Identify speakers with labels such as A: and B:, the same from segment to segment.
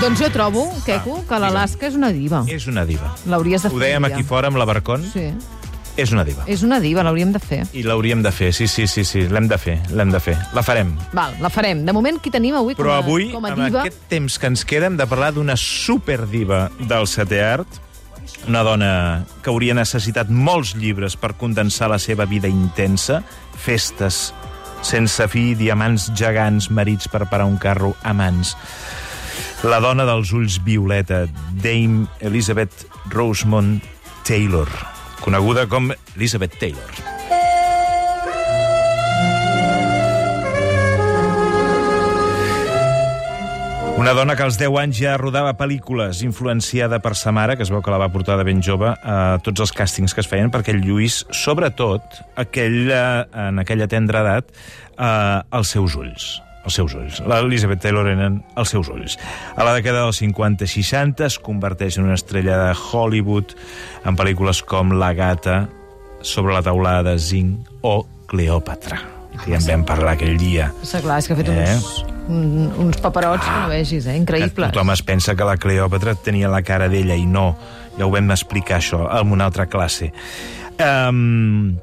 A: Doncs jo trobo, Queco, que l'Alaska és una diva.
B: És una diva.
A: L'hauries de fer.
B: Ho dèiem
A: ja.
B: aquí fora amb la Barcon.
A: Sí.
B: És una diva.
A: És una diva, l'hauríem de fer.
B: I l'hauríem de fer, sí, sí, sí, sí, l'hem de fer, l'hem de fer. La farem.
A: Val, la farem. De moment, qui tenim avui
B: Però
A: com a,
B: avui,
A: com a
B: amb
A: diva?
B: aquest temps que ens queda, hem de parlar d'una superdiva del setè art, una dona que hauria necessitat molts llibres per condensar la seva vida intensa, festes sense fi, diamants gegants, marits per parar un carro, amants. La dona dels ulls violeta, Dame Elizabeth Rosemont Taylor, coneguda com Elizabeth Taylor. Una dona que als 10 anys ja rodava pel·lícules, influenciada per sa mare, que es veu que la va portar de ben jove a tots els càstings que es feien, perquè el Lluís, sobretot, aquell, eh, en aquella tendra edat, eh, els seus ulls els seus ulls. L'Elizabeth Taylor eren els seus ulls. A la dècada dels 50-60 es converteix en una estrella de Hollywood en pel·lícules com La gata, Sobre la taulada de zinc o Cleòpatra, que ja en vam parlar aquell dia.
A: Sí, clar, és que ha fet
B: Eh? Ah,
A: uns, un, uns paperots que no vegis, eh?
B: Que
A: Increïbles.
B: tothom es pensa que la Cleòpatra tenia la cara d'ella i no. Ja ho vam explicar, això, en una altra classe. Um,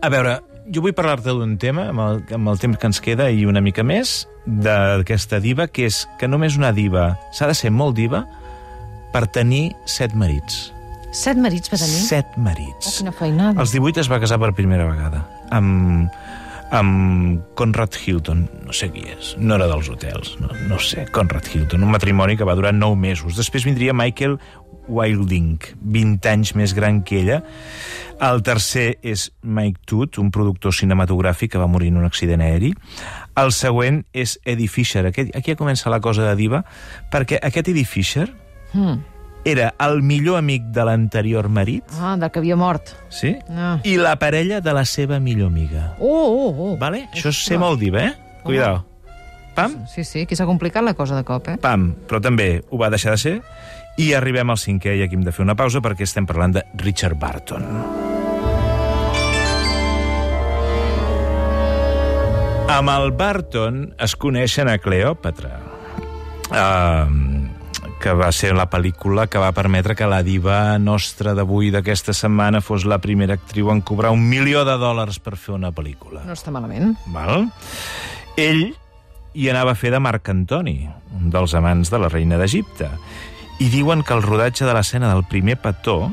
B: a veure, jo vull parlar-te d'un tema, amb el, amb el temps que ens queda i una mica més, d'aquesta diva, que és que només una diva s'ha de ser molt diva per tenir set marits.
A: Set marits va tenir?
B: Set
A: Oh,
B: marits.
A: quina feinada.
B: Als 18 es va casar per primera vegada amb, amb Conrad Hilton, no sé qui és, no era dels hotels, no, no sé, Conrad Hilton, un matrimoni que va durar 9 mesos. Després vindria Michael Wilding, 20 anys més gran que ella. El tercer és Mike Toot, un productor cinematogràfic que va morir en un accident aeri. El següent és Eddie Fisher. Aquest, aquí ja comença la cosa de diva, perquè aquest Eddie Fisher
A: Mm.
B: era el millor amic de l'anterior marit,
A: Ah, del que havia mort.
B: sí?
A: Ah.
B: i la parella de la seva millor amiga.
A: Oh, oh, oh.
B: Vale? Això és ser molt diva, eh? Cuidao. Pam,
A: Sí, sí, aquí s'ha complicat la cosa de cop, eh?
B: pam, però també ho va deixar de ser. I arribem al cinquè, i aquí hem de fer una pausa perquè estem parlant de Richard Barton. Amb el Barton es coneixen a Cleòpatra, eh, que va ser la pel·lícula que va permetre que la diva nostra d'avui d'aquesta setmana fos la primera actriu en cobrar un milió de dòlars per fer una pel·lícula.
A: No està malament.
B: Val? Ell hi anava a fer de Marc Antoni, un dels amants de la reina d'Egipte. I diuen que el rodatge de l'escena del primer petó,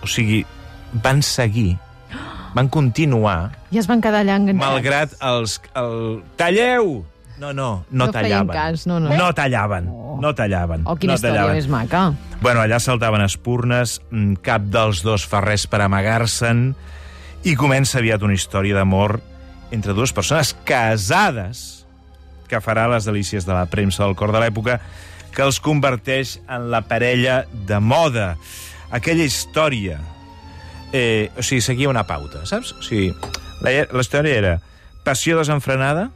B: o sigui, van seguir, van continuar,
A: I es van quedar allà enganxats.
B: malgrat els... El... Talleu! No, no,
A: No
B: no,
A: feien
B: tallaven.
A: cas, no, no.
B: no tallaven,
A: Oh.
B: no tallaven.
A: Oh, quina
B: no
A: història
B: tallaven.
A: més maca.
B: Bueno, allà saltaven espurnes, mm, cap dels dos fa res per amagar-se'n, i comença aviat una història d'amor entre dues persones casades que farà les delícies de la premsa del cor de l'època que els converteix en la parella de moda. Aquella història... Eh, o sigui, seguia una pauta, saps? O sigui, la, la història era passió desenfrenada,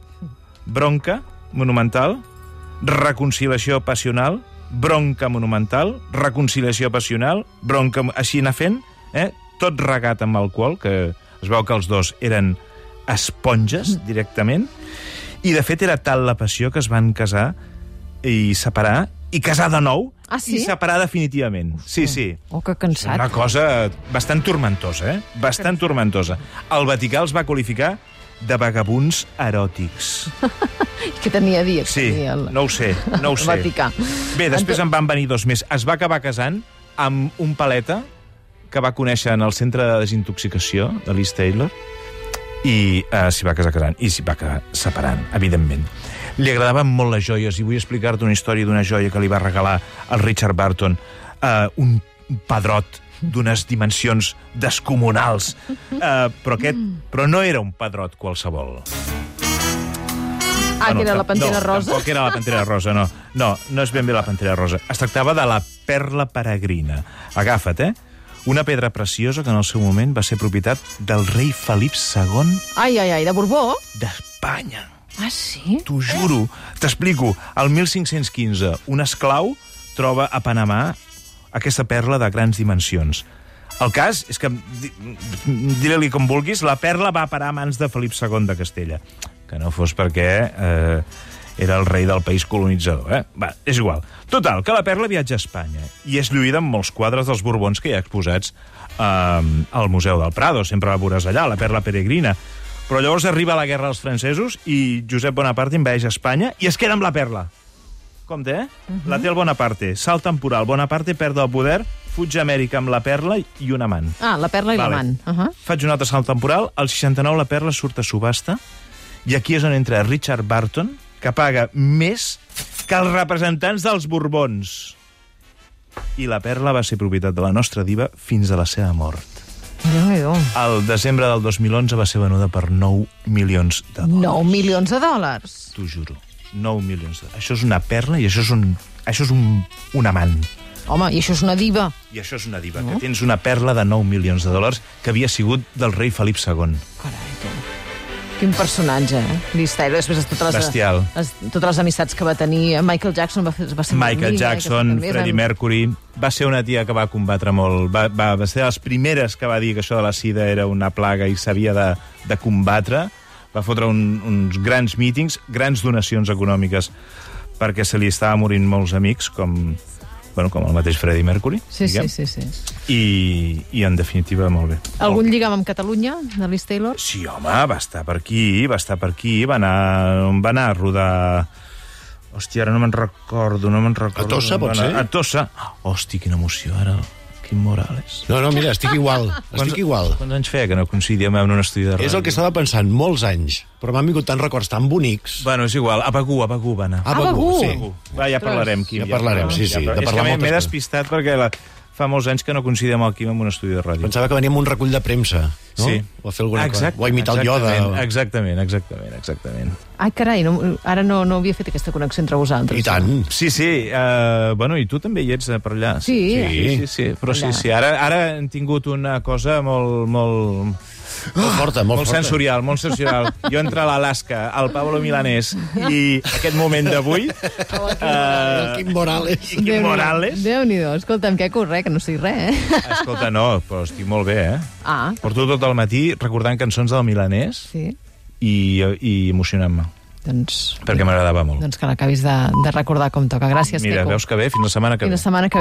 B: bronca monumental, reconciliació passional, bronca monumental, reconciliació passional, bronca... Així anar fent, eh? tot regat amb alcohol, que es veu que els dos eren esponges
A: Mm.
B: directament, i de fet era tal la passió que es van casar i separar, i casar de nou,
A: Ah, sí?
B: i separar definitivament. Sí, sí.
A: Oh, que cansat.
B: Una cosa bastant tormentosa, eh? Bastant tormentosa. El Vaticà els va qualificar de vagabunds eròtics.
A: Que tenia dia. que
B: Sí,
A: tenia el...
B: no ho sé, no ho sé.
A: Vaticà. Ah,
B: Bé, després
A: Ento-
B: en van venir dos més. Es va acabar casant amb un paleta que va conèixer en el centre de desintoxicació de Liz Taylor i eh, s'hi va casar casant i s'hi va quedar separant, evidentment. Li agradaven molt les joies i vull explicar-te una història d'una joia que li va regalar el Richard Barton, eh, un pedrot d'unes dimensions descomunals. Eh, però, aquest, però no era un pedrot qualsevol.
A: Ah, que era la
B: tam-
A: Pantera
B: no,
A: Rosa.
B: Tampoc era la Pantera Rosa, no. No, no és ben bé la Pantera Rosa. Es tractava de la perla peregrina. Agafa't, eh? Una pedra preciosa que en el seu moment va ser propietat del rei Felip II
A: Ai, ai, ai, de Borbó?
B: d'Espanya.
A: Ah, sí?
B: T'ho juro. T'explico. El 1515, un esclau troba a Panamà aquesta perla de grans dimensions. El cas és que, di- diré-li com vulguis, la perla va parar a mans de Felip II de Castella. Que no fos perquè eh, era el rei del país colonitzador. Eh? Va, és igual. Total, que la perla viatja a Espanya i és lluïda amb molts quadres dels Borbons que hi ha exposats eh, al Museu del Prado. Sempre la veuràs allà, la perla peregrina. Però llavors arriba la guerra dels francesos i Josep Bonaparte envaeix Espanya i es queda amb la perla. Compte, eh? Uh -huh. La té el Bonaparte. Salt temporal. Bonaparte perd el poder, fuig a Amèrica amb la perla i un amant.
A: Ah, la perla i
B: Vale.
A: l'amant. Uh -huh.
B: Faig un altre salt temporal. El 69 la perla surt a subhasta i aquí és on entra Richard Barton, que paga més que els representants dels Borbons. I la perla va ser propietat de la nostra diva fins a la seva mort.
A: Déu-n'hi-do.
B: El desembre del 2011 va ser venuda per 9 milions de dòlars.
A: 9 milions de dòlars.
B: T'ho juro. 9 milions de Això és una perla i això és un, això és un, un amant.
A: Home, i això és una diva.
B: I això és una diva, no? que tens una perla de 9 milions de dòlars que havia sigut del rei Felip II.
A: Carai, tu. Quin personatge, eh? Vista, i després de totes les,
B: Bestial.
A: Les, totes les amistats que va tenir. eh? Michael Jackson va, fer, va ser
B: Michael
A: amic, eh,
B: Jackson,
A: que també
B: Freddie
A: van-
B: Mercury... Va ser una tia que va combatre molt. Va, va, va ser de les primeres que va dir que això de la sida era una plaga i s'havia de, de combatre. Va fotre un, uns grans mítings, grans donacions econòmiques, perquè se li estava morint molts amics, com, bueno, com el mateix Freddie Mercury.
A: Sí, sí,
B: diguem.
A: sí, sí.
B: I, I, en definitiva, molt bé.
A: Algun lligam amb Catalunya, de Liz Taylor?
B: Sí, home, va estar per aquí, va estar per aquí, va anar, on va anar a rodar... Hòstia, ara no me'n recordo, no me'n recordo.
C: Tossa,
B: on va
C: pot
B: anar.
C: ser?
B: A Tossa. Hòstia, quina emoció, ara. Quim Morales.
C: No, no, mira, estic igual. Estic igual.
B: Quants anys feia que no coincidíem en un estudi de ràdio?
C: És el que estava pensant molts anys, però m'han vingut tants records tan bonics.
B: Bueno, és igual, a Begú, a Begú va anar.
C: A
A: Begur.
C: sí.
B: Begú. Ah, Va, ja parlarem, Quim.
C: Ja parlarem, sí, sí, de
B: parlarem. és
C: parlar
B: que m'he-
C: moltes
B: m'he
C: coses.
B: despistat perquè la, fa molts anys que no coincidíem el Quim en un estudi de ràdio.
C: Pensava que veníem un recull de premsa, no?
B: Sí.
C: O a fer alguna
B: Exacte,
C: cosa. O a imitar el Yoda.
B: exactament,
C: o-
B: Exactament, exactament, exactament.
A: Ai, carai, no, ara no, no havia fet aquesta connexió entre vosaltres.
C: I tant.
B: Sí, sí, uh, bueno, i tu també hi ets eh, per allà.
A: Sí.
B: sí, sí, sí. però sí,
A: Allà.
B: sí, ara, ara hem tingut una cosa molt, molt,
C: Molt forta, molt,
B: molt
C: forta.
B: sensorial, molt sensorial. Jo entre l'Alaska, el Pablo Milanés i aquest moment d'avui,
C: El
B: uh,
C: Quim Morales.
B: i Quim
A: Déu-n'hi-do.
B: Morales...
A: Déu-n'hi-do. Escolta'm, que corre, que no sé res, eh?
B: Escolta, no, però estic molt bé, eh?
A: Ah,
B: Porto tot el matí recordant cançons del Milanés
A: sí.
B: i, i emocionant-me,
A: Doncs,
B: perquè m'agradava molt.
A: doncs que l'acabis de, de recordar com toca. Gràcies,
B: Mira,
A: Queco.
B: veus que bé, fins la setmana que ve.
A: Fins la setmana que ve.